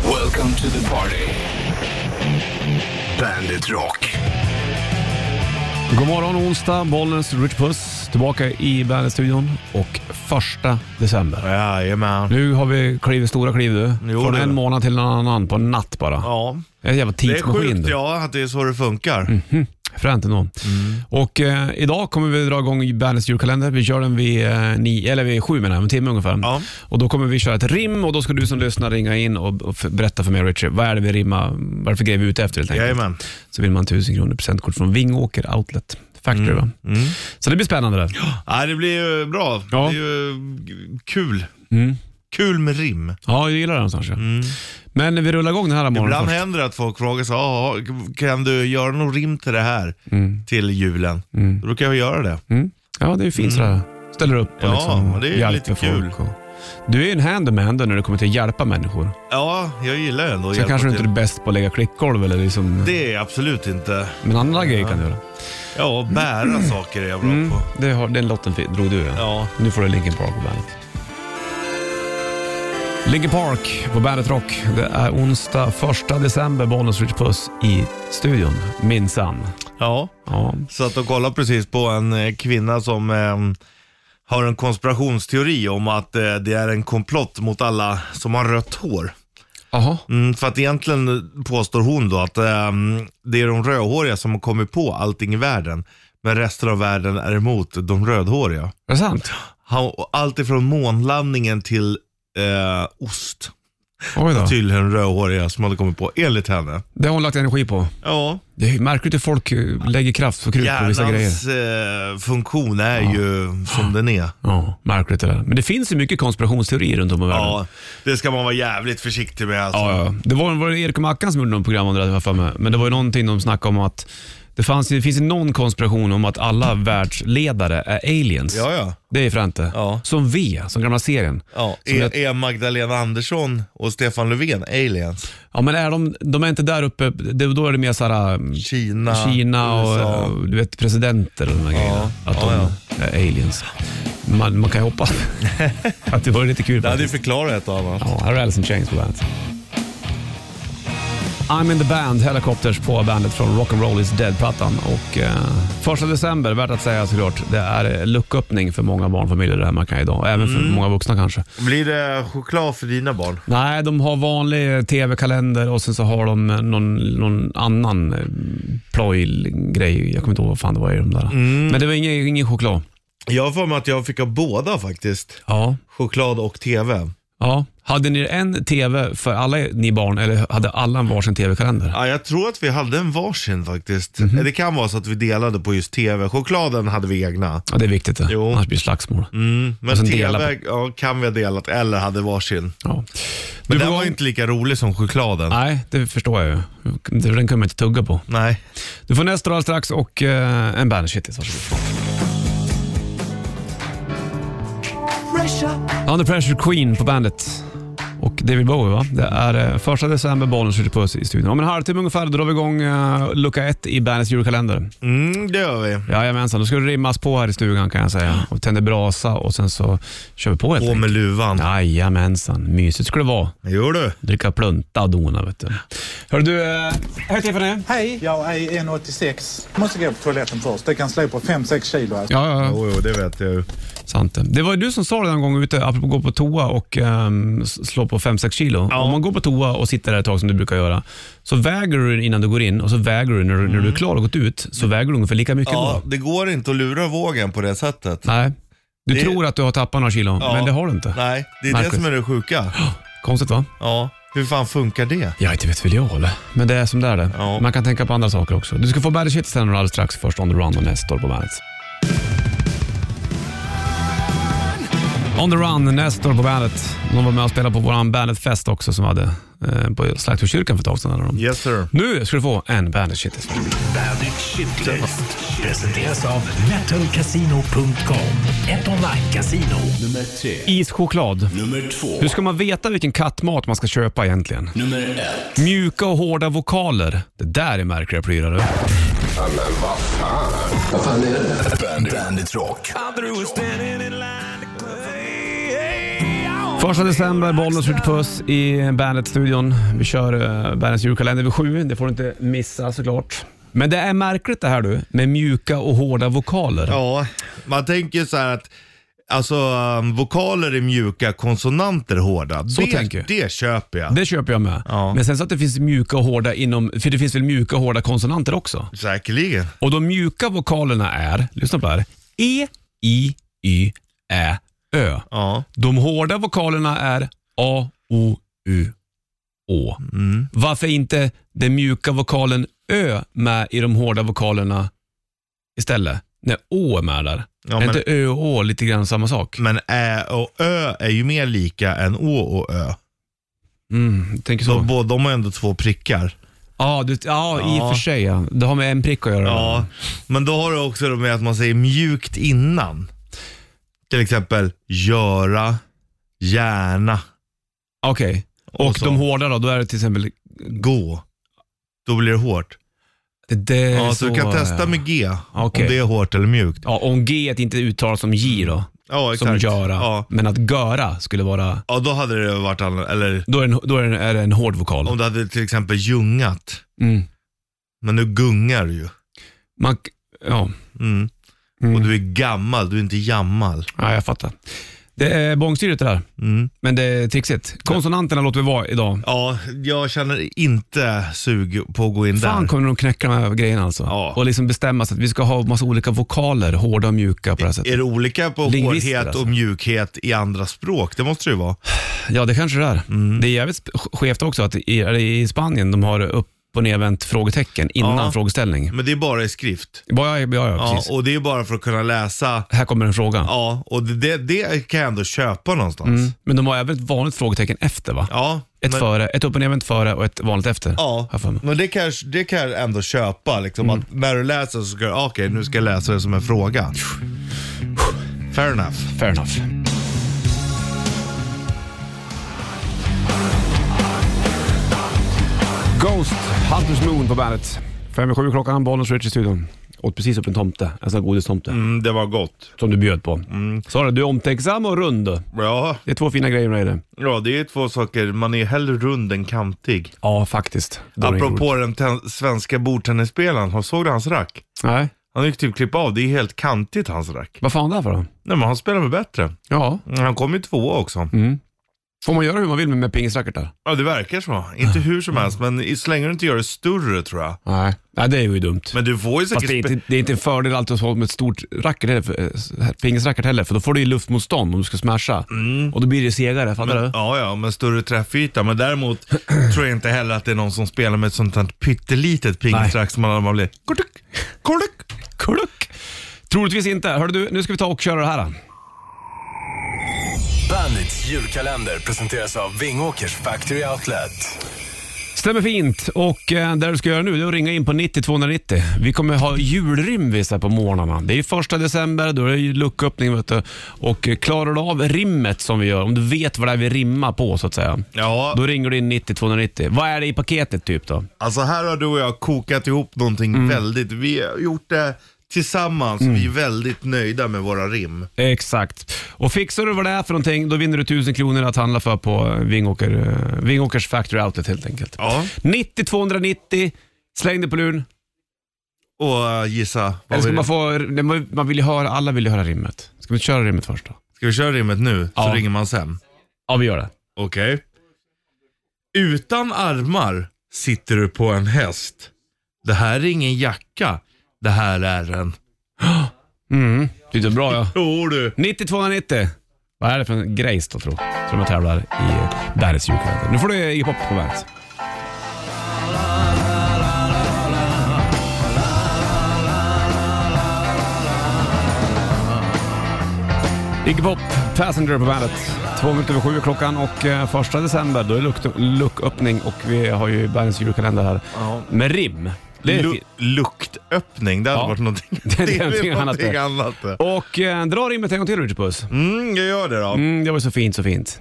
Welcome to the party. Bandit Rock. God morgon onsdag, Bollnäs Rich Puss tillbaka i Bandet-studion och första december. Jajamän. Nu har vi klivit stora kliv du. Jo, Från du. en månad till en annan på en natt bara. Ja. Det är en jävla Det är tidsmaskin sjukt du. ja, Mm. att det är så det funkar. Mm. Fränt ändå. Och eh, idag kommer vi dra igång Bandets julkalender. Vi kör den vid, eh, ni, eller vid sju menar jag, om en timme ungefär. Ja. Och då kommer vi köra ett rim och då ska du som lyssnar ringa in och, och f- berätta för mig och Richard, vad är det vi rimmar, vad är det för grej vi är ute efter helt enkelt. Jajamän. Så vill man 1000 kronor presentkort från Vingåker Outlet Factory va? Så det blir spännande det. Mm. Ja, det blir ju bra. Ja. Det är ju g- kul. Mm. Kul med rim. Mm. Ja, jag gillar det någonstans. ja. Men vi rullar igång den här morgonen Ibland först. händer det att folk frågar så "Ah, kan du göra något rim till det här till julen? Då kan jag göra det. Mm. Ja, det är ju fint sådär. Ställer upp och Ja, liksom det är ju hjälper lite kul. folk Och... Du är ju en handyman då när det kommer till att hjälpa människor. Ja, jag gillar ändå Sen att hjälpa kanske du till. inte är bäst på att lägga klickgolv eller liksom... Det är jag absolut inte. Men andra grejer kan du göra. Ja, bära saker är jag bra på. Det har, den lotten fi- drog du ja. Ja. Nu får du Linkin Park på bandet. Linkin Park på Bandet Rock. Det är onsdag 1 december, Bonus Rich Puss i studion. Minsann. ja. Ja. Så att de kollar precis på en eh, kvinna som eh, har en konspirationsteori om att eh, det är en komplott mot alla som har rött hår. Aha. Mm, för att egentligen påstår hon då att eh, det är de rödhåriga som har kommit på allting i världen. Men resten av världen är emot de rödhåriga. Är det sant? Han, och allt ifrån månlandningen till eh, ost. Oj då. Tydligen rödhåriga som hade kommit på, enligt henne. Det har hon lagt energi på. Ja, Det är märkligt hur folk eh, lägger kraft och krut på vissa grejer. hjärnans eh, funktion är ju som den är. Ja, märkligt det där. Men det finns ju mycket konspirationsteorier runt om i världen. Ja, det ska man vara jävligt försiktig med alltså. Ja, ja. Det var, var det Erik och Mackan som gjorde någon program om det där, har jag för mig. Men det var ju någonting de snackade om att det, fanns, det finns ju någon konspiration om att alla världsledare är aliens. Ja, ja. Det är fränt det. Ja. Som V, som gamla serien. Ja, Som jag- är, är Magdalena Andersson och Stefan Löfven aliens? Ja, men är de, de är inte där uppe, det, då är det mer såhär mm, Kina, Kina och, eh, USA. och du vet, presidenter och de här grejerna. Att de Ja, är aliens. Man, man kan ju hoppas att det var lite kul Det hade ju faktiskt. förklarat ett och annat. Ja, här är Alice in Chains på bandet. I'm in the band, Helicopters på bandet från Rock'n'Roll is Dead-plattan. Och eh, första december, värt att säga såklart, det är eh, lucköppning för många barnfamiljer det här man kan idag. Och Även för många vuxna kanske. Blir det choklad för dina barn? Nej, de har vanlig eh, tv-kalender och sen så har de eh, någon, någon annan eh, plojgrej. Jag kommer inte ihåg vad fan det var i de där. Men det var ingen, ingen choklad. Jag har för mig att jag fick ha båda faktiskt. Ja. Choklad och TV. ja. Hade ni en tv för alla ni barn eller hade alla en varsin tv-kalender? Ja, jag tror att vi hade en varsin faktiskt. Mhm. Det kan vara så att vi delade på just TV. Chokladen hade vi egna. Ja, det är viktigt det. Jo. Annars blir det slagsmål. Mm. Men Mm. Och sen TV dela ja, kan vi ha delat eller hade varsin. Ja. Men Du den får- var inte lika rolig som chokladen. Nej, det förstår jag ju. Den kan man inte tugga på. Nej. Du får nästa alldeles strax och eh, en bandagehitis. Varsågod. Under Pressure Queen på bandet. Och David Bowie va? Det är eh, första december, bollen skjuter på oss i studion. Om en halvtimme ungefär drar vi igång eh, lucka ett i bandets julkalender. Mm, det gör vi. Jajamensan, då ska det rimmas på här i stugan kan jag säga. Och tänder brasa och sen så kör vi på helt På enkelt. med luvan. Jajamensan, mysigt skulle det vara. Jo du. Dricka plunta och dona vet du. Hör du, eh, hej Tiffany. Hej, jag är 1,86. Måste gå på toaletten först. Det kan slå på 5-6 kilo. Alltså. Ja, ja, ja. Jo, jo, det vet jag ju. sant det. Det var ju du som sa det en gång ute, apropå gå på toa och ehm, s- slå på 5-6 kilo. Om man går på toa och sitter där ett tag som du brukar göra, så väger du innan du går in och så väger du när du, när du är klar och gått ut, så väger du ungefär lika mycket Ja, då. det går inte att lura vågen på det sättet. Nej. Du Det- tror att du har tappat några kilo, Ja. men det har du inte. Nej, det är Marcus. det som är det sjuka. Konstigt va? Ja, hur fan funkar det? Ja, inte vet väl jag eller? Men det är som det är det. Ja. Man kan tänka på andra saker också. Du ska få Bandit Shit sen alldeles strax först, On the Run och Nestor på bandet. On the Run, Nestor på bandet. De var med och spelade på vår Bandet-fest också som vi hade eh, på Slakthuskyrkan för ett tag sedan. hade de. Yes sir. Nu ska du få en Bandit Shit. Bandit Shitlist. Presenteras av metalcasino.com. Ett online-casino. Nummer tre. Ischoklad. Nummer två. Hur ska man veta vilken kattmat man ska köpa egentligen? Nummer ett. Mjuka och hårda vokaler. Det där är märkliga prylar du. Bandit, Bandit Rock. Första december, Bollnäs skjuter puss i Bandet-studion. Vi kör uh, Bandets julkalender vid sju. Det får du inte missa såklart. Men det är märkligt det här du, med mjuka och hårda vokaler. Ja, man tänker ju så här att Alltså um, vokaler är mjuka, konsonanter hårda. Så det, tänker jag. det köper jag. Det köper jag med. Ja. Men sen så att det finns mjuka och hårda inom, för det finns väl mjuka och hårda konsonanter också. Säkerligen. Och de mjuka vokalerna är, lyssna på det här, E, I, Y, Ä, Ö. Ja. De hårda vokalerna är A, O, U, Å. Mm. Varför inte den mjuka vokalen Ö med i de hårda vokalerna istället? När Å är med där. Ja, är men- inte Ö och Å lite grann samma sak? Men ä och ö är ju mer lika än å och ö. Mm, jag tänker så. De, bå- de har ändå två prickar. ja, du, ja, i och för sig. Ja. Det har med en prick att göra. Ja, men då har du också det med att man säger mjukt innan. Till exempel göra, gärna, Okej. Och, Och så. de hårda då? Då är det till exempel... gå. Då blir det hårt. Det, det är Ja, så du kan ja. testa med G, Okej. om det är hårt eller mjukt. Ja, om G inte uttalas som J då, Ja, som exakt. göra. Ja. Men att göra skulle vara... ja, då hade det varit annorlunda. Eller Då är det en, då är det en, är det en hård vokal. om du hade till exempel ljungat. Mm. Men nu gungar du ju. Man, ja, Mm. Och du är gammal, du är inte jammal. ja, jag fattar. Det är bångstyrigt det där, Mm. men det är trixigt. Konsonanterna låter vi vara idag. Ja, jag känner inte sug på att gå in Fan där. kommer de knäcka de här grejerna alltså. Ja. Och liksom bestämma sig att vi ska ha massa olika vokaler, hårda och mjuka på det här sättet. Är det olika på Lingvister, hårdhet alltså. och mjukhet i andra språk? Det måste det ju vara. Ja, det kanske det är. Mm. Det är jävligt sp- skevt också att i, eller i Spanien de har upp och nervänt frågetecken innan Ja. frågeställning. Men det är bara i skrift. Ja, ja, ja, ja, Ja, precis. och det är bara för att kunna läsa. Här kommer en fråga. Ja, och det, det, det kan jag ändå köpa någonstans. Men de har även ett vanligt frågetecken efter va? Ja, Mm. Ett, men, före, ett upp och nervänt före och ett vanligt efter. ja, Har jag för mig. Mm. men det kan, jag- det kan jag ändå köpa. Liksom, att när du läser så ska du, okej nu ska jag läsa det som en fråga. Fair enough. Fair enough. Ghost, Hunters Moon på bandet. Fem i sju klockan, Bollnäs Rich i studion. Åt precis upp en tomte, en sån här godistomte, Mm, det var gott. som du bjöd på. Sara, du är omtänksam och rund. Ja, Det är två fina grejer med det. ja, det är två saker. Man är hellre rund än kantig. Ja, faktiskt. Då är det inget roligt. Apropå den ten- svenska bordtennisspelaren, har- såg du hans rack? Nej, Han fick typ klippa av, det är helt kantigt hans rack. vad fan det här för då? Nej men han spelar väl bättre. Ja, Han kom ju tvåa också. Mm. får man göra hur man vill med- med pingisracketar? Ja det verkar så. Inte hur som helst, men i- så länge du inte gör det större tror jag. Nej. Nej, det är ju dumt. Men du får ju Fast säkert... det är, spe- inte, det är inte en fördel alltid att ha med ett stort racket, heller, för, eh, pingisracket heller, för då får du ju luftmotstånd om du ska smasha. Och då blir det segare, fattar du? Ja, ja, Mm. men större träffyta. Men däremot tror jag inte heller att det är någon som spelar med ett sånt här pyttelitet pingisrack som man man blir... Kortuk, kortuk. Kluck! Troligtvis inte. Hörru du, nu ska vi ta och köra det här. då. Bandits julkalender presenteras av Vingåkers Factory Outlet. Stämmer fint. Och eh, det du ska göra nu det är att ringa in på 90 290. Vi kommer ha julrim vissa på morgnarna. Det är ju första december, då är det ju lucköppning. Vet du. Och eh, klarar du av rimmet som vi gör, om du vet vad det är vi rimmar på så att säga. Ja, Då ringer du in 90 290. Vad är det i paketet typ då? alltså här har du och jag kokat ihop någonting Mm. väldigt... Vi har gjort det tillsammans. Vi är väldigt nöjda med våra rim. Exakt. Och fixar du vad det är för någonting, då vinner du 1000 kronor att handla för på eh, Vingåker, eh, Vingåkers Factory Outlet helt enkelt. Ja. 90 290, släng det på luren. Och äh, gissa. Vad Eller ska vi- man få, nej, man- man vill ju höra, alla vill ju höra rimmet. Ska vi köra rimmet först då? Ska vi köra rimmet nu? Ja. Så ringer man sen. Ja, vi gör det. Okej. Utan armar sitter du på en häst. Det här är ingen jacka. Det här är en... Mm, det är bra ja. Jo du. 90 290. Vad är det för en grejs då tror jag? Som jag tävlar i eh, Bandits julkalender. Nu får du Iggy Pop på bandet. Iggy Pop, Passenger på bandet. Två minuter över sju är klockan och eh, första december då är luck- lucköppning och vi har ju Bandits julkalender här med rim. Det är Lu- fint. luktöppning, det hade Ja. varit någonting, Det är någonting annat någonting det. annat. det. Och eh, dra rimmet en gång till Richard Puss. Mm, jag gör det då. Mm, det var ju så fint, så fint.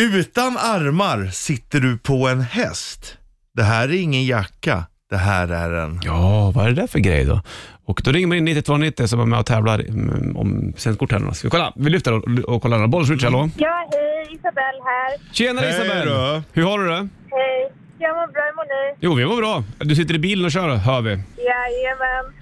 Utan armar sitter du på en häst. Det här är ingen jacka. Det det här är en... Ja, vad är det där för grej då? Och då ringer man in 9290 som är med och tävlar mm, om presentkort här. nu då. Ska vi kolla? Vi lyfter och, och kollar den. Bollswitch, hallå? Ja, hej. Isabelle här. Tjena Hej Isabel! då. Hur har du det? Hej. Jag mår bra, hur mår ni? Jo, vi mår bra. Du sitter i bilen och kör, hör vi. Jajamän.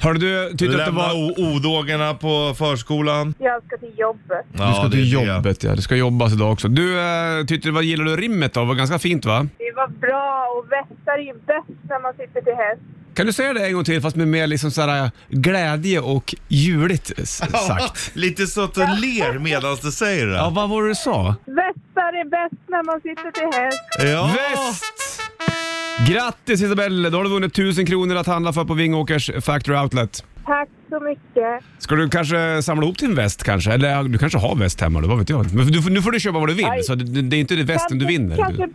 Hörde du, tyckte att det Lämna var... o- odågorna på förskolan. Jag ska till jobbet. Ja, du ska det är det. till jobbet, ja. Du ska jobbas idag också. Du, eh, tyckte du, vad gillar du rimmet då? Det var ganska fint va? Det var bra och vässar är ju bäst när man sitter till häst. Kan du säga det en gång till fast med mer liksom så här glädje och juligt s- sagt? Ja, lite så att du ler medan du säger det. Ja, Ja. vad var det du sa? Vässar är bäst när man sitter till häst. Väst! Grattis Isabelle! Då har du vunnit 1000 kronor att handla för på Vingåkers Factory Outlet. Tack så mycket. Ska du kanske samla ihop din väst kanske? Eller ja, du kanske har väst hemma, det vad vet jag. Men du, får- nu får du köpa vad du vill, Aj. så det, det är inte det västen du Kanske- vinner. Kanske Mm.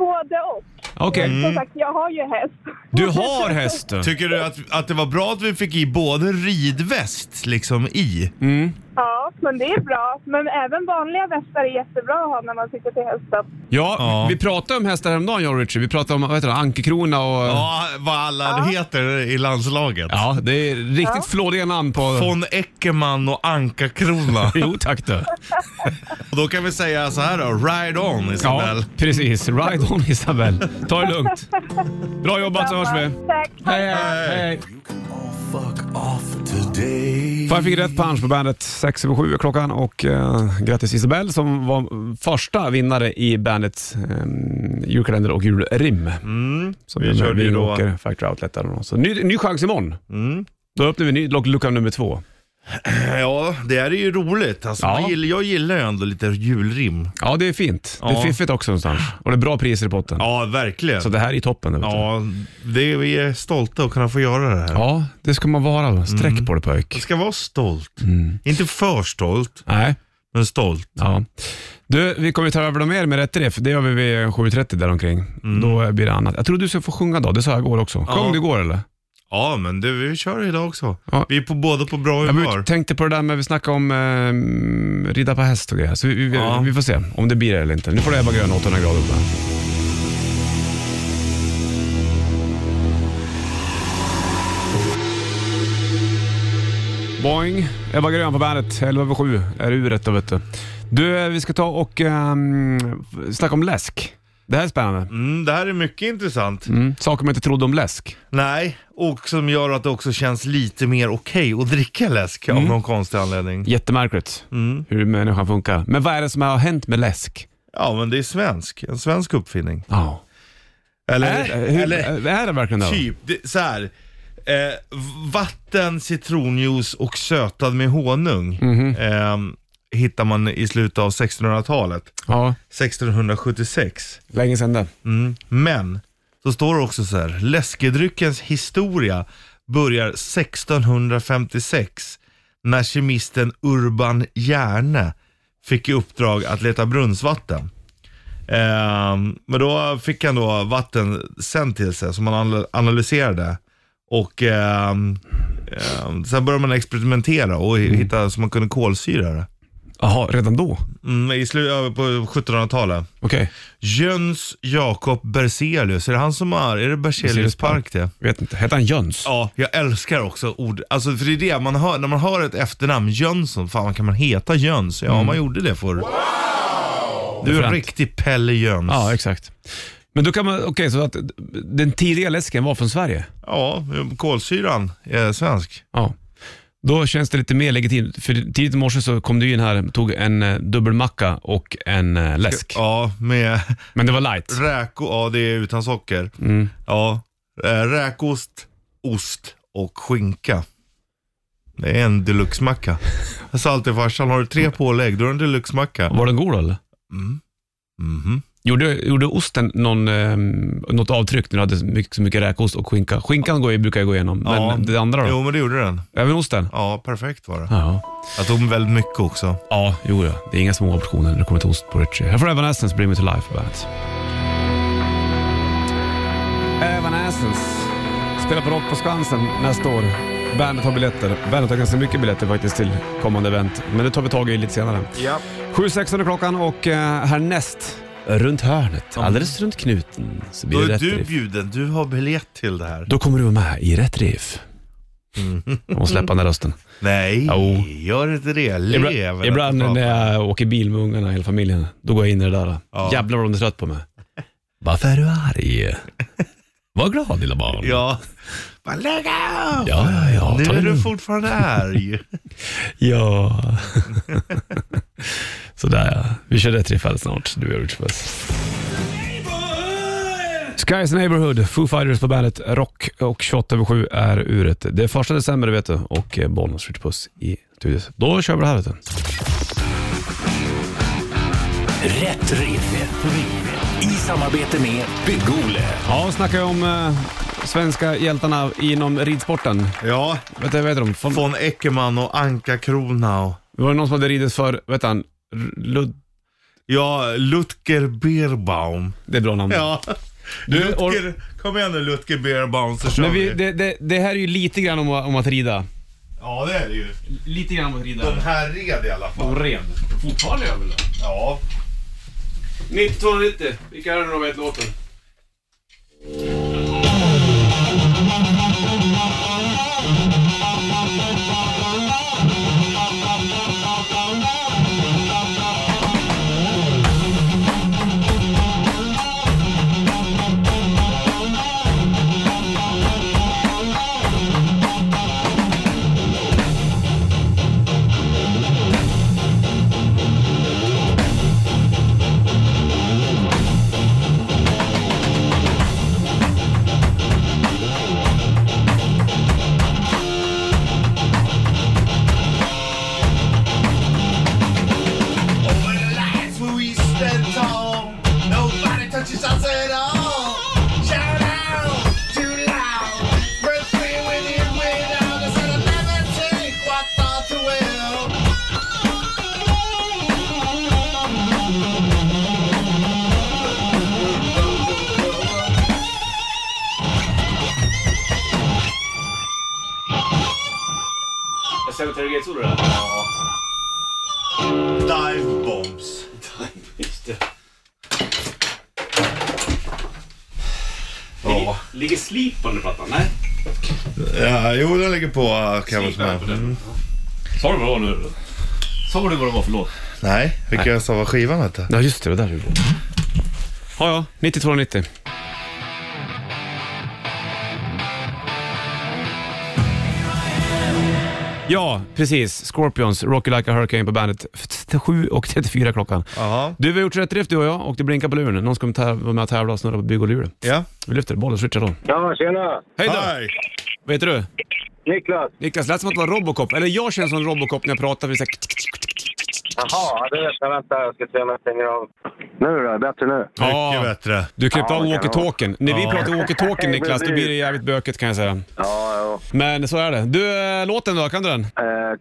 Okej. både och. Som sagt, jag har ju häst. Du har häst! Tycker du att, att det var bra att vi fick i både ridväst liksom i? Mm. Ja, men det är bra. Men även vanliga västar är jättebra att ha när man sitter till hästen. Ja, Ja. vi pratade om hästar häromdagen jag och Richie. Vi pratade om vad heter det, ankekrona och... Ja. Ja, vad alla heter i landslaget. det är riktigt flådiga namn på... Von Eckermann och Anka Krona. Jo tack du. och då kan vi säga så här då, ride on Isabel. Ja, precis. Ride on Isabel. Ta det lugnt. Bra jobbat så hörs vi. Tack. Hej, hej, hej. Fan, jag fick rätt punch på bandet. Sex över sju är klockan och eh, grattis Isabel som var första vinnare i bandets eh, julkalender och julrim. Som Mm. vi vi körde körde ju vi då- Mm. åker Factory Outlet. där och så. Ny, ny chans imorgon. Då öppnar vi ny, lock- lucka nummer två. Ja, det här är ju roligt. Alltså, Ja. man gillar, jag gillar ju ändå lite julrim. Ja, det är fint. Det är Ja. fiffigt också någonstans. Och det är bra priser i potten. Ja, verkligen. Så det här är toppen. vet du. Ja, det, vi är stolta att kunna få göra det här. ja, det ska man vara. Sträck på det Man pojk. ska vara stolt. Mm. Inte för stolt, Nej. men stolt. Ja. Du, vi kommer ju ta över dem mer med rätt riff. Det gör vi vid 7.30 däromkring. Då blir det annat. Jag tror du ska få sjunga då. Det sa jag igår också. Sjöng Ja. du igår eller? Ja, men du, vi kör idag också. Ja. Vi är på, båda på bra Jag humör. var ute- tänkte på det där med vi snackade om eh, rida på häst och grejer. Så vi, vi, Ja. vi får se om det blir det eller inte. Nu får det Ebba Grön 800 grader uppe. Boing! Ebba Grön på bandet. 11 över 7 är uret då vet du. Du, eh, vi ska ta och um, snacka om läsk. Det här är spännande. Mm, det här är mycket intressant. Mm. Saker man inte trodde om läsk. Nej, och som gör att det också känns lite mer okej att dricka läsk Mm. av någon konstig anledning. Jättemärkligt hur människan funkar. Men vad är det som har hänt med läsk? Ja, men det är svensk. En svensk uppfinning. Ja. Eller, Är, Äh, hur, eller är det verkligen det? typ, det, så här. Eh, vatten, citronjuice och sötad med honung Mhm. ehm, hittar man i slutet av 1600-talet. Ja, 1676. länge sedan det. Mm. Men, så står det också så här. Läskedryckens historia börjar 1656 när kemisten Urban Järne fick i uppdrag att leta brunnsvatten. Ehm, men då fick han då vatten sänt till sig som han anal- analyserade. Och ehm, ehm, sen började man experimentera och hitta så man kunde kolsyra det. Jaha, redan då? Mm, I slutet på 1700-talet. Okej. Jöns Jakob Berzelius, är det han som är? Är det Berzelius park det? Vet inte. Hette han Jöns? Ja, jag älskar också ord. Alltså för det är det man hör, när man hör ett efternamn, Jönsson, fan kan man heta Jöns? Ja, man gjorde det förr. Du är en Fränt. riktig Pelle Jöns. Ja, exakt. Men då kan man, okej, så att den tidiga läsken var från Sverige? Ja, kolsyran är svensk. Ja. Då känns det lite mer legitimt, för tidigt i morse så kom du in här, tog en eh, dubbelmacka och en eh, läsk. Ja, med Men det var light. räko, ja det är utan socker. Mm. Ja, eh, räkost, ost och skinka. Det är en deluxe-macka. Jag sa alltid farsan, har du tre pålägg då är det en deluxe-macka. Var den god då, eller? Mhm. Gjorde, gjorde osten någon, eh, något avtryck när du hade så mycket, så mycket räkost och skinka? Skinkan går, ju- brukar jag gå igenom, men Ja. det andra då? Jo, men det gjorde den. Även osten? Ja, perfekt var det. Ja. Jag tog väldigt mycket också. Ja, jo ja. Det är inga små optioner när det kommer till ost på Ritchie. Här får Evanescence Bring Me To Life på bandet. Evanescence spelar på Rock på Skansen nästa år. Bandet har biljetter. Bandet har ganska mycket biljetter faktiskt till kommande event, men det tar vi tag i lite senare. Ja. 7.16 är klockan och eh, härnäst Runt hörnet, alldeles runt knuten, så blir Då det är rätt du riff. bjuden, du har biljett till det här. Då kommer du vara med i rätt riff. Mm. Och släppa den där rösten. Nej, Jo. gör inte det. Lev. Ibland, ibland när jag åker bil med ungarna, hela familjen, då går jag in i det där. Ja. Jävlar vad de är trött på mig. Varför är du arg? Var glad lilla barn. Ja. Bara lägg av! ja, ja. ja. Nu Ta det är du lugnt. fortfarande arg. Ja. Sådär ja. Vi kör rätt riff alldeles snart, du och jag Rich Puss. Skies Neighborhood, Foo Fighters på bandet, rock och 28 över 7 är uret. Det är första december vet du och eh, Bollnäs Rich Puss i studion. Då kör vi det här vet du. Rätt riff. I samarbete med Bygg-Ole. Ja, snackar vi om eh, svenska hjältarna inom ridsporten. Ja, Vet du, vad heter de? Von, von Eckermann och Anka Krona och Var det någon som hade ridit för, vet han, R- Lud... ja, Lutger Beerbaum. Det är bra namn. Ja. Du, Lutger, kom igen nu Lutger Beerbaum så kör Men vi, vi. det, det, det här är ju lite grann om, om att rida. Ja, det är det ju. Lite grann om att rida. De här red i alla fall. red. Fortfarande gör väl det? Ja. 9290. Vilka är det de vet låten? Over the lights where we stand tall. Nobody touches us at all. Shout out too loud. Breath free with it without us. And I never take what thought to will. Jag ser Terry Gates ord där. Dive bombs. Ja. Ligger slip under plattan? Nej. ja, jo den ligger på uh, Camel's Man. Sa du vad det var nu? Sa du vad det var för låt? Nej, vilka jag sa vad skivan hette. Ja, just det. Det där du Ja, ja. 9290. Ja, precis. Scorpions, Rocky Like a Hurricane på bandet. 7.34 klockan. Jaha. Du, vi har gjort rätt drift du och jag och det blinkar på luren. Någon ska täv- vara med och tävla och snurra på bygg och luren. Ja. Vi lyfter bollen, switchar då. Ja, tjena! Hej då! Hej. Vad heter du? Niklas! Niklas, lät som att det var Robocop. Eller jag känner som Robocop när jag pratar. för det är så här- Jaha, du vänta, vänta, jag ska se om jag stänger av. Nu då, bättre nu? Ja. Mycket bättre. Du klippte Ja, av kanon. walkie-talkien. När vi Ja. pratar walkie-talkie Niklas, då blir det jävligt bökigt kan jag säga. Ja, jo. Men så är det. Du, eh, låten då? Kan du den? Eh,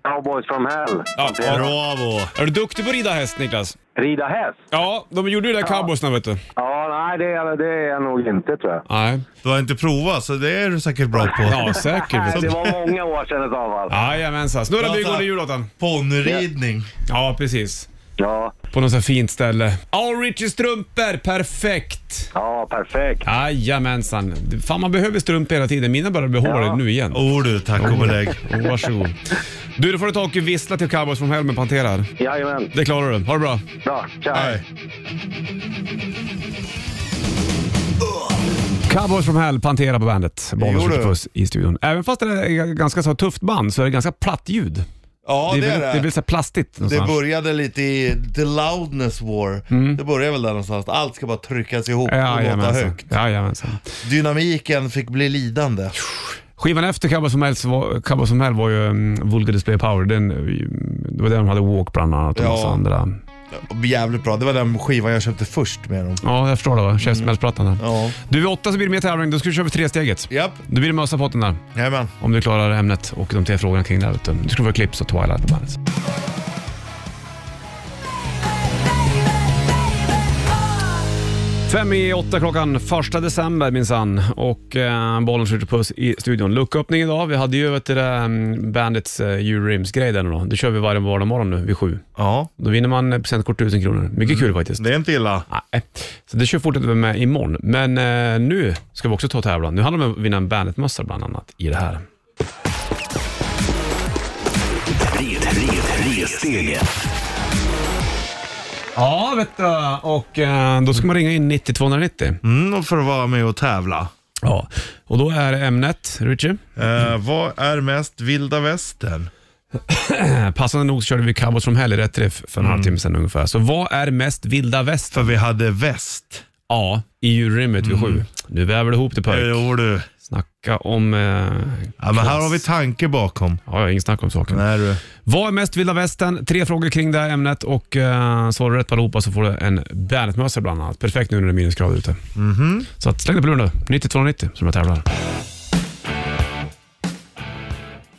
Cowboys from hell. Ja, Bravo. Är du duktig på att rida häst, Niklas? Rida häst? Ja, de gjorde ju det där cowboysna, vet du. Ja, nej, det är, det är jag nog inte tror jag. Nej. Du har inte provat så det är du säkert bra på. Ja, säkert. Nej, Vet det du. var många år sedan i så fall. Jajamensan. Snurra bygg under jullåten. Ponnyridning. Ja, precis. Ja, På något så här fint ställe. All Richies strumpor, perfekt! ja perfekt. Jajamensan. Fan, man behöver strumpor hela tiden. Mina börjar bli hårda nu igen. Oh du, tack och belägg. Oh, Varsågod. Du, då får du ta och vissla till Cowboys från Helmen Pantera. här. Jajamän, Det klarar du. Ha det bra. bra. Tja! Hej. Cowboys from Hell, Pantera på bandet. gjorde Bollnäs du. Puss i studion. Även fast det är ett ganska så här tufft band så är det ganska platt ljud. Ja det väl, är väl det. så här plastigt Det någonstans. började lite i The Loudness War. Det började väl där någonstans. Allt ska bara tryckas ihop och låta Jajamensan. högt. Jajamensan. Dynamiken fick bli lidande. Skivan efter Cowboys from Hell så var, Cowboys from Hell var ju um, Vulgar Display of Power. Den, um, det var den de hade Walk bland annat och Ja. massa andra. Jävligt bra. Det var den skivan jag köpte först med dem. Ja, jag förstår det. va? Käftsmällsplattan där. Mm. Ja. Du, vid åtta så blir det mer tävling. Då ska vi köra för tresteget. Japp. Då blir det mössa på potten där. Jajamän. Om du klarar ämnet och de tre frågorna kring det här. vet du. Du ska få Clips och Twilight på bandet. Fem i åtta klockan, första december minsann. Och eh, bollen skjuter puss i studion. Lucköppning idag. Vi hade ju vet du, det där, mm, Bandits eh, julrimsgrej där nu då. Det kör vi varje vardagsmorgon nu vid sju. Ja, Då vinner man eh, presentkort 1000 kronor. Mycket kul faktiskt. det är inte illa. Nej, så det kör fortsätter vi med imorgon. Men eh, nu ska vi också ta och tävla. Nu handlar det om att vinna en Bandit-mössa bland annat i det här. Red, red, ressteget. Ja, vet du. Och eh, då ska man ringa in 90 290. Mm, och för att vara med och tävla. Ja, och då är ämnet, Richie. Eh, vad är mest vilda västern? eh, Passande nog så körde vi Cowboys from Hell i rätt riff för en Mm. halvtimme sedan ungefär. Så vad är mest vilda väst? För vi hade väst. Ja, i djurrymmet vid sju. Nu väver du ihop det Eh, pojk. Mm. Jo du. Snacka om... Eh, Ja, men här har vi tanke bakom. Ja, jag har ingen snack om saken. Nej du. Vad är mest vilda västern? Tre frågor kring det här ämnet och eh, svarar du rätt på allihopa så får du en Bandet-mössa bland annat. Perfekt nu när det är minusgrader ute. Så att, släng dig på luren nu. 9290 som jag tävlar.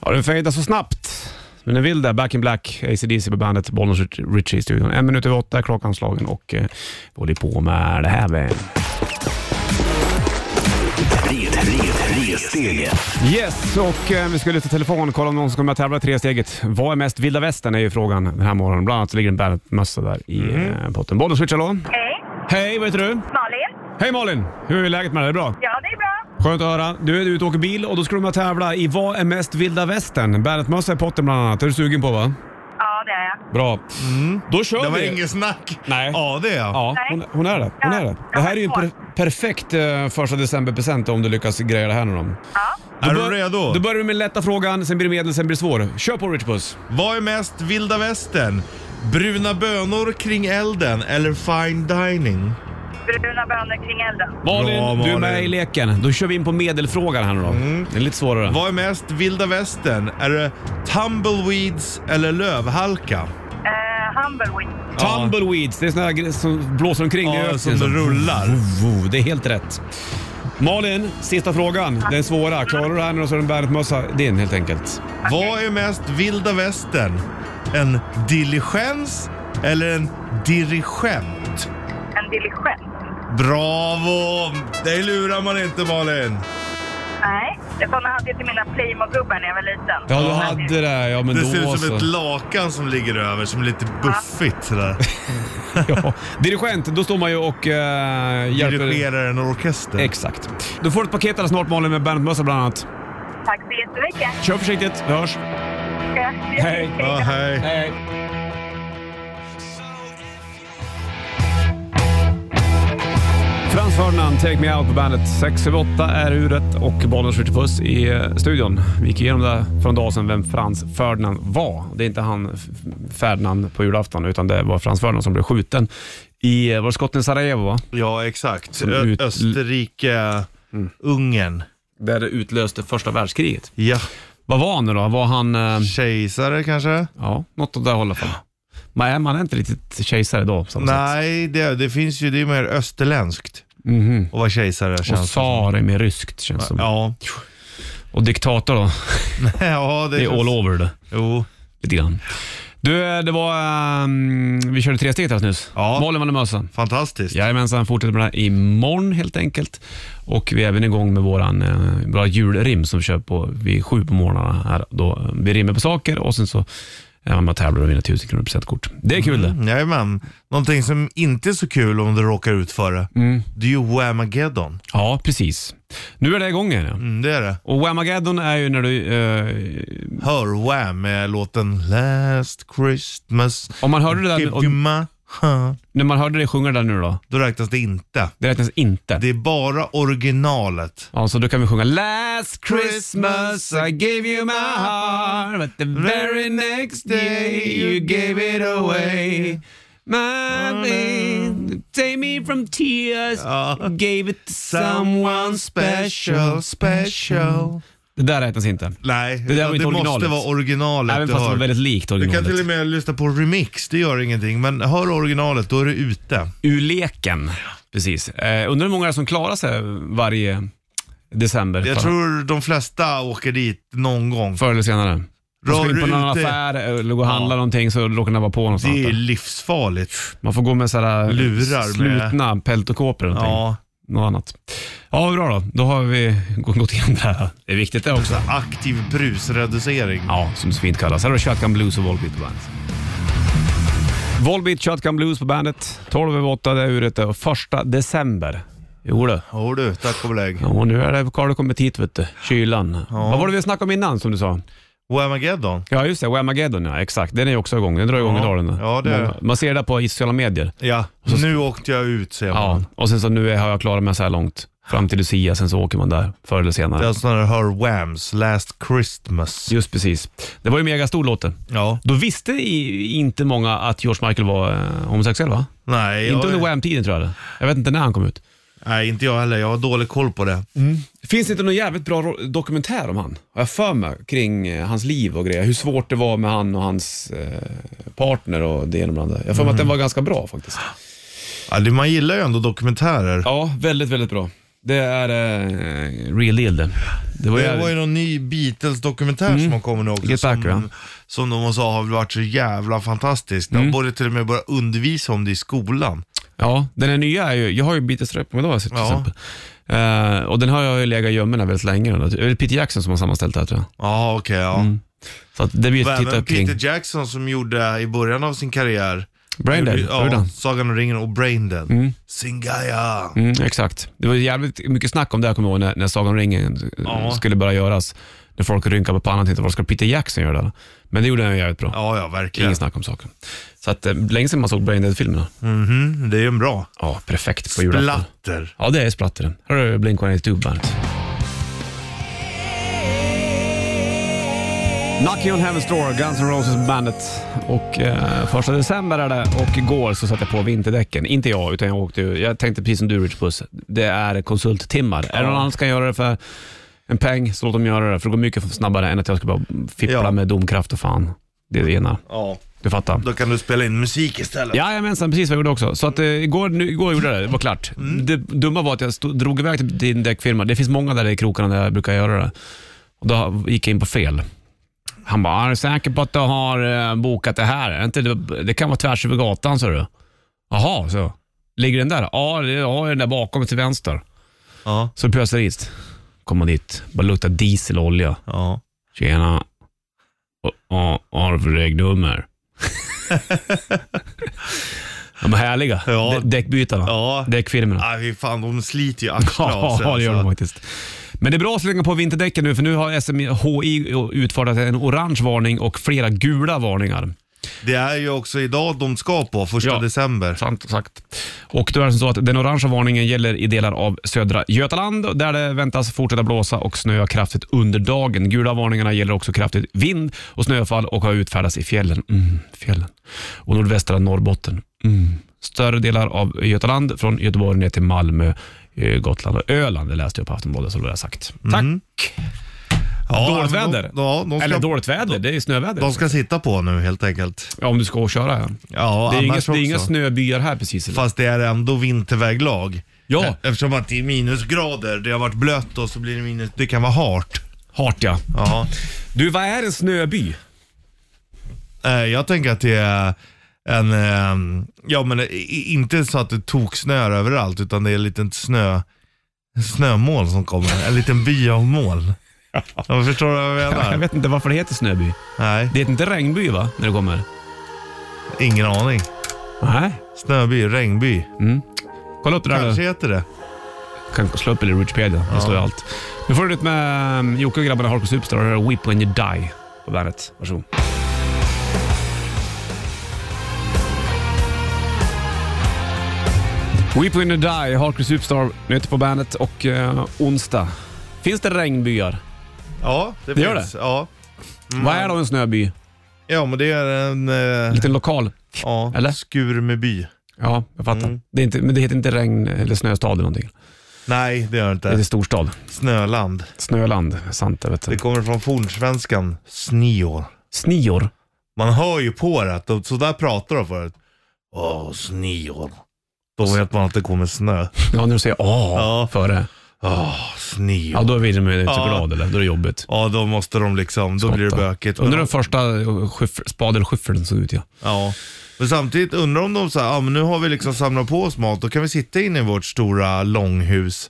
Ja, den fejdar så snabbt. Men den vill det. Back in Black, ACDC på bandet, Bollnäs Richie i studion. En minut över åtta är klockan slagen och eh, vi håller på med det här. Med. Red, red, ressteget. Yes, och eh, vi ska lyfta telefon och kolla om någon som kommer att tävla i tresteget. Vad är mest vilda västern är ju frågan den här morgonen. Bland annat så ligger en Bandet-mössa där i Mm. eh, potten. Bollen switch, hallå? Hej, Hej, vad heter du? Malin. Hej Malin! Hur är läget med dig? Är det bra? Ja, det är bra. Skönt att höra. Du är ute och åker bil och då ska du med och tävla i Vad är mest vilda västern? Bandet-mössa i potten bland annat. Det är du sugen på va? Ja, det är jag. Bra. Då kör Mm. Det var vi! inget snack. Nej. Ja, det är jag. Ja, hon, hon är det. Hon är det. Det här är ju en per perfekt eh, första december-present om du lyckas greja det här nu då. Är bör- du redo? Då börjar du med lätta frågan, sen blir det medel, sen blir det svår. Kör på Rich Puss. Vad är mest vilda västern? Bruna bönor kring elden eller fine dining? Bruna bönor kring elden. Malin, Bra, du är med Malin. Mm. i leken. Då kör vi in på medelfrågan här nu då. Det är lite svårare. Vad är mest vilda västern? Är det tumbleweeds eller lövhalka? Eh, Humbleweed. Tumbleweeds, det är såna här gre- som blåser omkring i Ja, öknen. som Så- rullar. Vovo, Det är helt rätt. Malin, sista frågan. Den svåra. Klarar du det här nu så är det en Bernhardsmössa din helt enkelt. Vad är mest vilda västern? En diligens eller en dirigent? En diligent. Bravo! Det lurar man inte Malin. Nej, det sådana hade jag till mina Playmo-gubbar när jag var liten. Ja, du hade det. här. Ja, men Det då ser ut så. som ett lakan som ligger över, som är lite buffigt sådär. ja. Dirigent, då står man ju och eh, hjälper. Dirigerar en orkester. Exakt. Du får ett paket alldeles snart Malin med Bernhardsmössa bland annat. Tack så jättemycket. Kör försiktigt, vi hörs. Hej. Ja, hej. Hej. Frans Ferdinand, Take Me Out på bandet. 6 över 8 är huvudet och bollen skjuter puss i eh, studion. Vi gick igenom det för en dag sedan vem Frans Ferdinand var. Det är inte han F- Ferdinand på julafton utan det var Frans Ferdinand som blev skjuten i, eh, var det skotten i Sarajevo va? Ja, exakt. Som Ö- ut- Mm. Österrike, Ungern. Där det utlöste första världskriget. Ja, Vad var han nu då? Var han, eh, kejsare kanske? ja, något åt det hållet i alla fall. Man är, man är inte riktigt kejsare då på samma sätt. Nej, det, det finns ju, det är mer österländskt Mhm. att vara kejsare känns Och det som. tsar är mer ryskt känns det som. Ja. Och diktator då? ja, det, Det är all over det. Jo. Lite grann. Du, eh, det var... ehm, vi körde tre steg alldeles nyss. Ja. Malin vann mössan. Fantastiskt. Jajamensan, fortsätter med det här imorgon helt enkelt. Och vi är även igång med våran eh, bra julrim som vi kör på vid sju på morgnarna. Här. Då, eh, vi rimmar på saker och sen så är man med och tävlar och vinner 1000 kronor i presentkort. Det är kul Mm. det. Jajamän. Någonting som inte är så kul om du råkar ut för det, Mm. det är ju Whamageddon. Ja, precis. Nu är det igång igen. ja. Mm, det är det. Och Whamageddon är ju när du... Eh, Hör Wham med låten Last Christmas. om man hörde det där, och, Give me my- när man hörde dig sjunga det där nu då, Då räknas det inte. det räknas inte. Det är bara originalet. Ja, så då kan vi sjunga Last Christmas I gave you my heart But the very next day you gave it away My baby, take me from tears Gave it to someone special special. Det där räknas inte. Nej, Det där var det inte måste originalet. vara originalet Även du fast det hör. var väldigt likt Du kan till och originalet. med lyssna på remix, det gör ingenting. Men hör originalet, då är du ute. Ur leken. Precis. Eh, undrar hur många det är som klarar sig varje december. Jag För- tror de flesta åker dit någon gång. Förr eller senare. Ska Rör in på du någon ut det- affär eller gå och handla någonting så råkar den vara på någonstans. Det är där. livsfarligt. Man får gå med sådär Lurar med- slutna peltokåpor eller någonting. Ja. Något annat. Ja, bra då. Då har vi gå- gått igenom det här. Det är viktigt det också. Aktiv brusreducering. Ja, som det så fint kallas. Här har du Shotgun Blues och Volbeat på bandet. Volbeat, Shotgun Blues på bandet. 12 över 8, det är uret och första december. Jo du. Jo du, tack och belägg. Ja, och nu är det Karl har kommit hit vet du. Kylan. Vad var det vi snackade om innan som du sa? Whamageddon. Ja just det, Whamageddon ja, exakt. Den är ju också igång. Den drar igång Ja. idag den. Ja, det är det. Många- Man ser det på i sociala medier. Ja, nu åkte jag ut ser man. Ja, och sen så nu är, har jag klarat mig så här långt. Fram till Lucia, sen så åker man där förr eller Det är senare. alltså när du hör Whams Last Christmas. Just precis. Det var ju megastor låten. Ja. Då visste i, inte många att George Michael var eh, homosexuell va? Nej, jag, Inte under Wham-tiden tror jag det. Jag vet inte när han kom ut. nej, inte jag heller. Jag har dålig koll på det. Finns det inte någon jävligt bra ro- dokumentär om han? Har jag för mig kring eh, hans liv och grejer. Hur svårt det var med han och hans eh, partner och det ena med det andra. Jag har för mig Mhm. att den var ganska bra faktiskt. Ja, det- man gillar ju ändå dokumentärer. Ja, väldigt, väldigt bra. Det är eh, real deal det. Det var, Det var ju jävligt- någon ny Beatles-dokumentär som har kommit nu också. Get Back, ja. Som, som de sa har varit så jävla fantastisk. Mm. De borde till och med börja undervisa om det i skolan. Ja, den här nya är ju, jag har ju Beatles rekommendator till Ja. exempel. Eh, och den har jag ju legat i gömmorna väldigt länge. Då. Det är Peter Jackson som har sammanställt det här tror jag. Ja, okej. ja. Så att det blir Och ett Mm. titta även kring. Peter Jackson som gjorde i början av sin karriär. Braindead, gjorde- gjorde ja, han. Sagan om ringen och Braindead. Singaya. Mm, exakt. Det var jävligt mycket snack om det här kommer jag ihåg, när, när Sagan om ringen eh, Ja. skulle börja göras. När folk rynkade på pannan och tänkte, vad ska Peter Jackson göra där? Men det gjorde han ju jävligt bra. Ja, ja, Ingen verkligen. snack om saken. Så att, eh, länge sedan man såg Braindead-filmerna. Mhm, det är ju en bra. Ja, perfekt på julafton. Splatter. Ja, det är splatter den. Här har du Blink-182 bandet. Nucky on Heaven's Door, Guns N' Roses bandet. Och eh, första december är det och igår så satte jag på vinterdäcken. Inte jag, utan jag åkte ju- Jag tänkte precis som du Rich Puss, det är konsulttimmar. Är det någon annan som kan göra det för en peng så låt dem göra det. För det går mycket snabbare än att jag ska bara fippla Ja. med domkraft och fan. Det är det ena. Ja. Du fattar. Då kan du spela in musik istället. Jajamensan, precis vad jag gjorde också. Så att, eh, igår, nu, igår gjorde jag det, det var klart. Det dumma var att jag stod, drog iväg till din däckfirma. Det finns många där i krokarna där jag brukar göra det. Och då gick jag in på fel. Han bara, är du säker på att du har eh, bokat det här? Är Inte, det, det kan vara tvärs över gatan, sa du. Jaha, så. Ligger den där? Ja, det- jag har den där bakom till vänster. Ja. Så pösade jag dit. Kom man dit, bara lukta diesel och olja. ja. Tjena. Vad- Vad vad har du för regnummer? de är härliga. Ja. Ja. Däckbytarna. Ja. Däckfirmorna. Nej, fy fan, de sliter ju axlarna av sig, Ja, det gör de alltså. faktiskt. Men det är bra att slänga på vinterdäcken nu, för nu har SMHI utfärdat en orange varning och flera gula varningar. Det är ju också idag de ska på, första Ja. december. Sant sagt. Och då är det som så att den orangea varningen gäller i delar av södra Götaland där det väntas fortsätta blåsa och snöa kraftigt under dagen. Gula varningarna gäller också kraftigt vind och snöfall och har utfärdats i fjällen. Mm, fjällen. Och nordvästra Norrbotten. Mm. Större delar av Götaland, från Göteborg ner till Malmö, eh, Gotland och Öland. Det läste jag på Aftonbladet, så det har jag sagt. Tack! dåligt alltså, väder. De, Mm. ja, de, ska, Eller dåligt väder, det är ju snöväder. de ska sitta på nu helt enkelt. Ja, om du ska och köra. Ja. Ja, Det är, inga, annars det är inga också. snöbyar här precis. eller? Fast det är ändå vinterväglag. Ja. E- Eftersom att det är minusgrader, det har varit blött och så blir det minus, det kan vara hart. Hart ja. Ja. Du, vad är en snöby? Eh, Jag tänker att det är en, eh, ja men i- i- inte så att det toksnör överallt utan det är en liten snö, snömål som kommer. En liten by av moln. Ja, förstår du vad jag Jag menar? vet inte varför det heter snöby. Nej, Det heter inte regnby va, när det kommer? ingen aning. Nej. Snöby, regnby. Kolla upp det där Kanske nu. heter det. Kan slå upp det i Richpedia. Där står ju allt. Nu får du lite med um, Jocke och grabbarna Harko Superstar och här är Weep When You Die på bandet. Varsågod. Weep When You Die, Harko Superstar, nytt på bandet och eh, onsdag. Finns det regnbyar? Ja, det, Det gör finns. det? Ja. Vad är då en snöby? ja, men det är en En eh, liten lokal? ja, eller? skur med by. Ja, jag fattar. Mm. Det är inte, men det heter inte regn eller snöstad eller någonting. Nej, det gör det Det heter inte. storstad. Snöland. Snöland, sant det vet Det du. kommer från fornsvenskan snior. Snior. Man hör ju på det att de, så där pratar de förut. Åh, snior. Då vet man att det kommer snö. Ja, när du säger åh Ja. före. Åh, sneal. Ja, då är vi inte med Ja. choklad eller? Då är det jobbigt. Ja, då måste de liksom, då blir det bökigt. Undrar hur den Men- första eh, skyff- spadelskiffern såg ut ja. Ja. Men samtidigt undrar om de så här, ja men nu har vi liksom samlat på oss mat, då kan vi sitta inne i vårt stora långhus,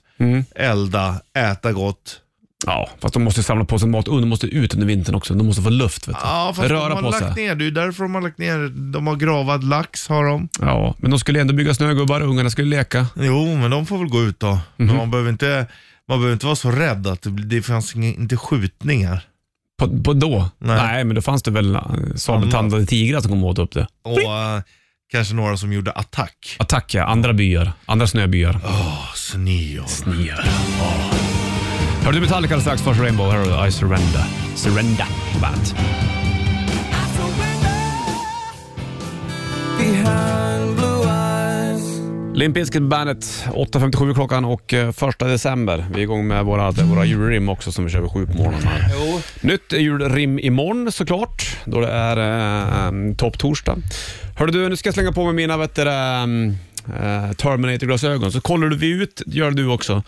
elda, äta gott. Ja, fast de måste ju samla på sig mat. och De måste ut under vintern också. De måste få luft. Vet du. Ja, fast Röra de har på lagt sig. ner, det är ju därför de har lagt ner, de har gravad lax har de. Ja, men de skulle ändå bygga snögubbar och ungarna skulle leka. Jo, men de får väl gå ut då. Men man behöver inte, man behöver inte vara så rädd att det, blir- det fanns inga, inte skjutningar. På, på då? Nej. Nej. men då fanns det väl eh, sabeltandade tigrar som kom åt upp det. Och eh, kanske några som gjorde attack. Attack ja, andra byar. Andra snöbyar. Åh, sneal. Snear. Ja. Hör du Metallica alldeles strax först Rainbow. Här har du I surrender. Surrender på bandet. Limp Bizkit Bandet, 8.57 klockan och eh, första december. Vi är igång med våra, våra julrim också som vi kör vid sju på morgonen. Här. Nytt julrim imorgon såklart, då det är eh, topptorsdag. Hörru du, nu ska jag slänga på mig mina vet du, ehm, eh, Terminator-glasögon, så kollar du ut, gör du också.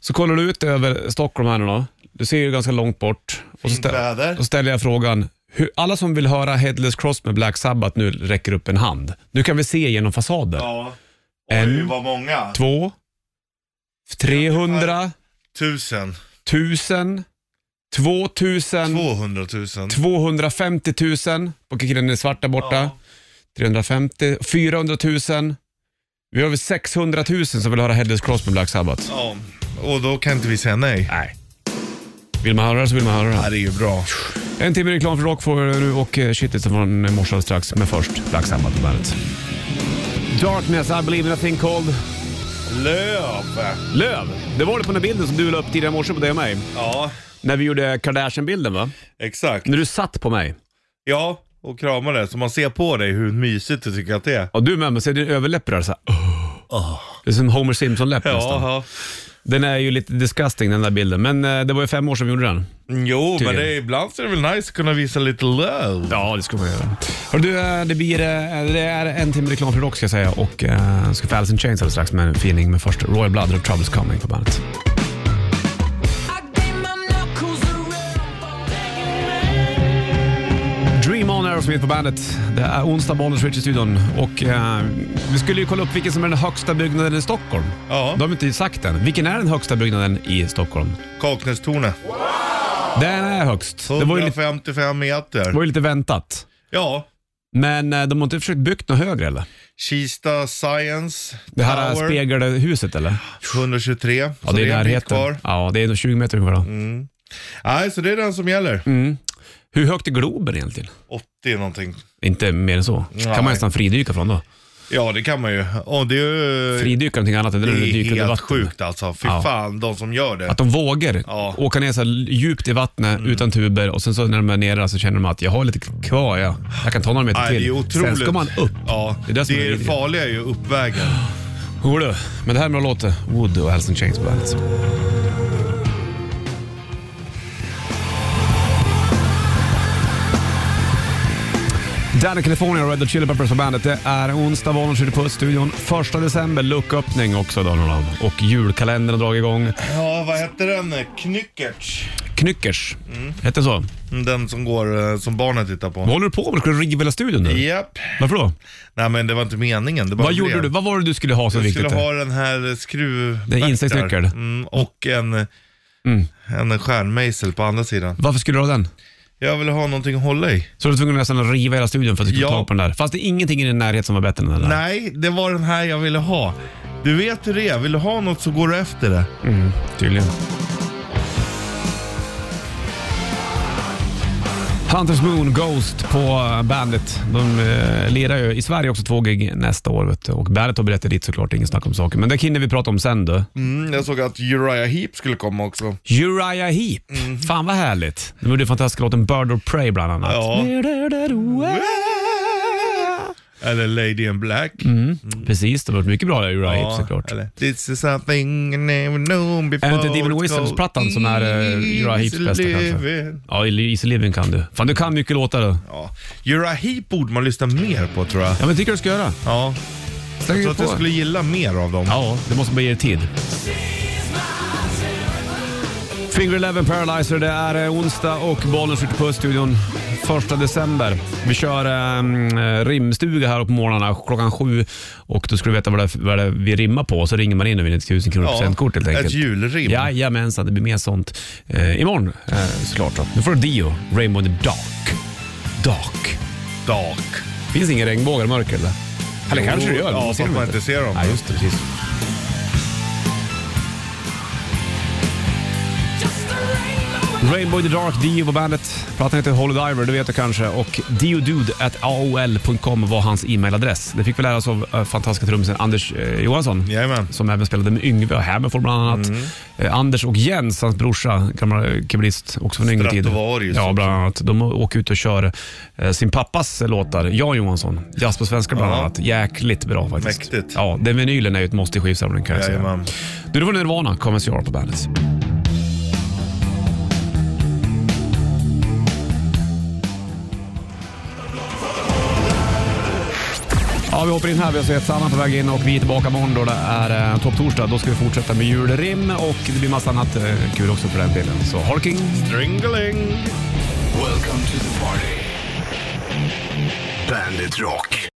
Så kollar du ut över Stockholm här nu då. Du ser ju ganska långt bort. Och så, Fint väder. och ställer jag frågan, hur, alla som vill höra Headless Cross med Black Sabbath nu räcker upp en hand. Nu kan vi se genom fasader. Ja, det En, var många. två, 300, Tusen. 1000, 2000, 200 000. 250 000. Och killen är svart där borta. Ja. 350, 400 000. Vi har över 600 000 som vill höra Headless Cross med Black Sabbath. Ja, och då kan inte vi säga nej. Nej. Vill man höra det så vill man höra Ja, det. det är ju bra. En timme reklam för rock får du och eh, shitlisten från i morse alldeles strax. Men först Black Sabbath på bandet. Darkness, I believe in a thing called Löp! Löv. Det var det på den här bilden som du la upp tidigare i morse på dig och mig. Ja, När vi gjorde Kardashian-bilden va? exakt. När du satt på mig. Ja, och krama det. Så man ser på dig hur mysigt du tycker att det är. Ja, du med, men ser din överläpp där såhär. Det är som Homer Simpson-läpp nästan. Ja, Den är ju lite disgusting den där bilden, men eh, det var ju fem år sedan vi gjorde den. Jo, men Tydligen. det är, ibland så är det väl nice att kunna visa lite love. Ja, det ska man göra. Hör du, eh, det, blir, eh, det är en timme reklam för rock ska jag säga och eh, ska få Alice in Chains alldeles strax med en feeling med först Royal Blood och Troubles Coming på bandet. Dream On Aerosmith på bandet. Det är onsdag, Bollnäs Rich i studion. Och eh, vi skulle ju kolla upp vilken som är den högsta byggnaden i Stockholm. Ja. De har inte sagt den. Vilken är den högsta byggnaden i Stockholm? Kaknästornet. Den är högst. Det var ju lite, 155 meter. det var ju lite väntat. Ja. Men eh, de har inte försökt byggt något högre eller? Kista Science Det här Tower, speglade huset eller? 123. Ja, det är en bit närheten. Kvar. Mm. Ja, det är nog 20 meter kvar. då. Nej, så det är den som gäller. Mm. Hur högt är Globen egentligen? 80 någonting. Inte mer än så. Nej. kan man nästan fridyka från då. Ja, det kan man ju. Och det är ju... Fridyka någonting annat, det är det när du är dyker under helt vatten. sjukt alltså. Fy Ja. fan, de som gör det. Att de vågar Ja. Mm. åka ner så här djupt i vattnet utan tuber och sen så när de är nere så känner de att jag har lite kvar, ja. jag kan ta några meter Nej, till. det är otroligt. Sen ska man upp. Ja, Det är det som det är är vidrigt. farliga är ju uppvägen. Jo du, men det här med att låta Wood och Alice in Chains på bandet. Danny California och Red Hot Chili Peppers på bandet. Det är onsdag, Bollnäs skjuter på studion. Första december, lucköppning också Daniel Olav. Och julkalendern har dragit igång. Ja, vad hette den? Knyckerts. Knyckers, Mm. hette så. Den som går, eh, som barnen tittar på. Vad håller du på med? Ska du riva hela studion nu? Japp. Varför då? Nej men det var inte meningen. Det bara Vad gjorde blev. du? Vad var det du skulle ha så Jag viktigt? skulle ha den här skruv... Det är insektsnyckel. Mm, och en, Mm. en stjärnmejsel på andra sidan. Varför skulle du ha den? Jag ville ha någonting att hålla i. Så du var tvungen nästan att riva hela studion för att du skulle Ja. få tag på den där. Fanns det ingenting i din närhet som var bättre än den där? Nej, det var den här jag ville ha. Du vet hur det är. Vill du ha något så går du efter det. Mm, Tydligen. Hunters Moon Ghost på eh, bandet. De eh, lirar ju i Sverige också två gig nästa år. Vet du. Och bandet har berättat dit såklart, ingen snack om saker. Men det hinner vi prata om sen du. Mm, jag såg att Uriah Heep skulle komma också. Uriah Heep. Mm. Fan vad härligt. De gjorde ju fantastiska låten Bird of Prey bland annat. Ja. Eller Lady in Black. Precis, det har varit mycket bra där, Uriah Heep såklart. eller This is something you never known before. Är det inte Demon Whistles-plattan som är eh, Uriah Heeps bästa kanske? Living. Ja, Easy Living kan du. Fan, du kan mycket låtar du. Ja. Uriah Heep borde man lyssna mer på tror jag. Ja, men tycker du ska göra. Ja. Släng Jag tror dig att jag på. skulle gilla mer av dem. Ja, det måste bara ge dig tid. Finger Eleven Paralyzer, det är eh, onsdag och bollen skjuter på studion 1 december. Vi kör ehm, eh, rimstuga här på morgnarna klockan sju och då ska du veta vad det, är- vad det är vi rimmar på så ringer man in och vinner ett 1000 kronor Ja, presentkort helt ett enkelt. julrim. Jajamensan, det blir mer sånt eh, imorgon eh, såklart. Då. Nu får du Dio, Rainbow in the Dark. Dark. Dak. Finns ingen regnbågar i mörker eller? Eller Jo, kanske det gör. ja, ser fast dem man inte ser dem. Ja, just det, precis. Rainbow in the Dark, Dio på bandet. Plattan heter Holy Diver, det vet du kanske. Och diodude.aol.com var hans e-mailadress. Det fick vi lära oss av eh, fantastiska trummisen Anders eh, Johansson. Jajamän. Som även spelade med Yngve och Hammerford bland annat. Mm. Eh, Anders och Jens, hans brorsa, gammal keyboardist, också från yngre tid. Stratovarius Ja, också. bland annat. De åker ut och kör eh, sin pappas låtar. Jan Johansson, jazz på svenska bland Ja. annat. Jäkligt bra faktiskt. Mäktigt. Ja, den vinylen är ju ett måste i skivsamlingen kan jag säga. Jajamän. Du, det var Nirvana, Commence You Are på bandet. Ja, vi hoppar in här. Vi har sett Sanna på väg in och vi är tillbaka imorgon då det är eh, topptorsdag. Då ska vi fortsätta med julrim och det blir massa annat eh, kul också för den delen. Så Harking! Dringeling. Welcome to the party. Bandit Rock.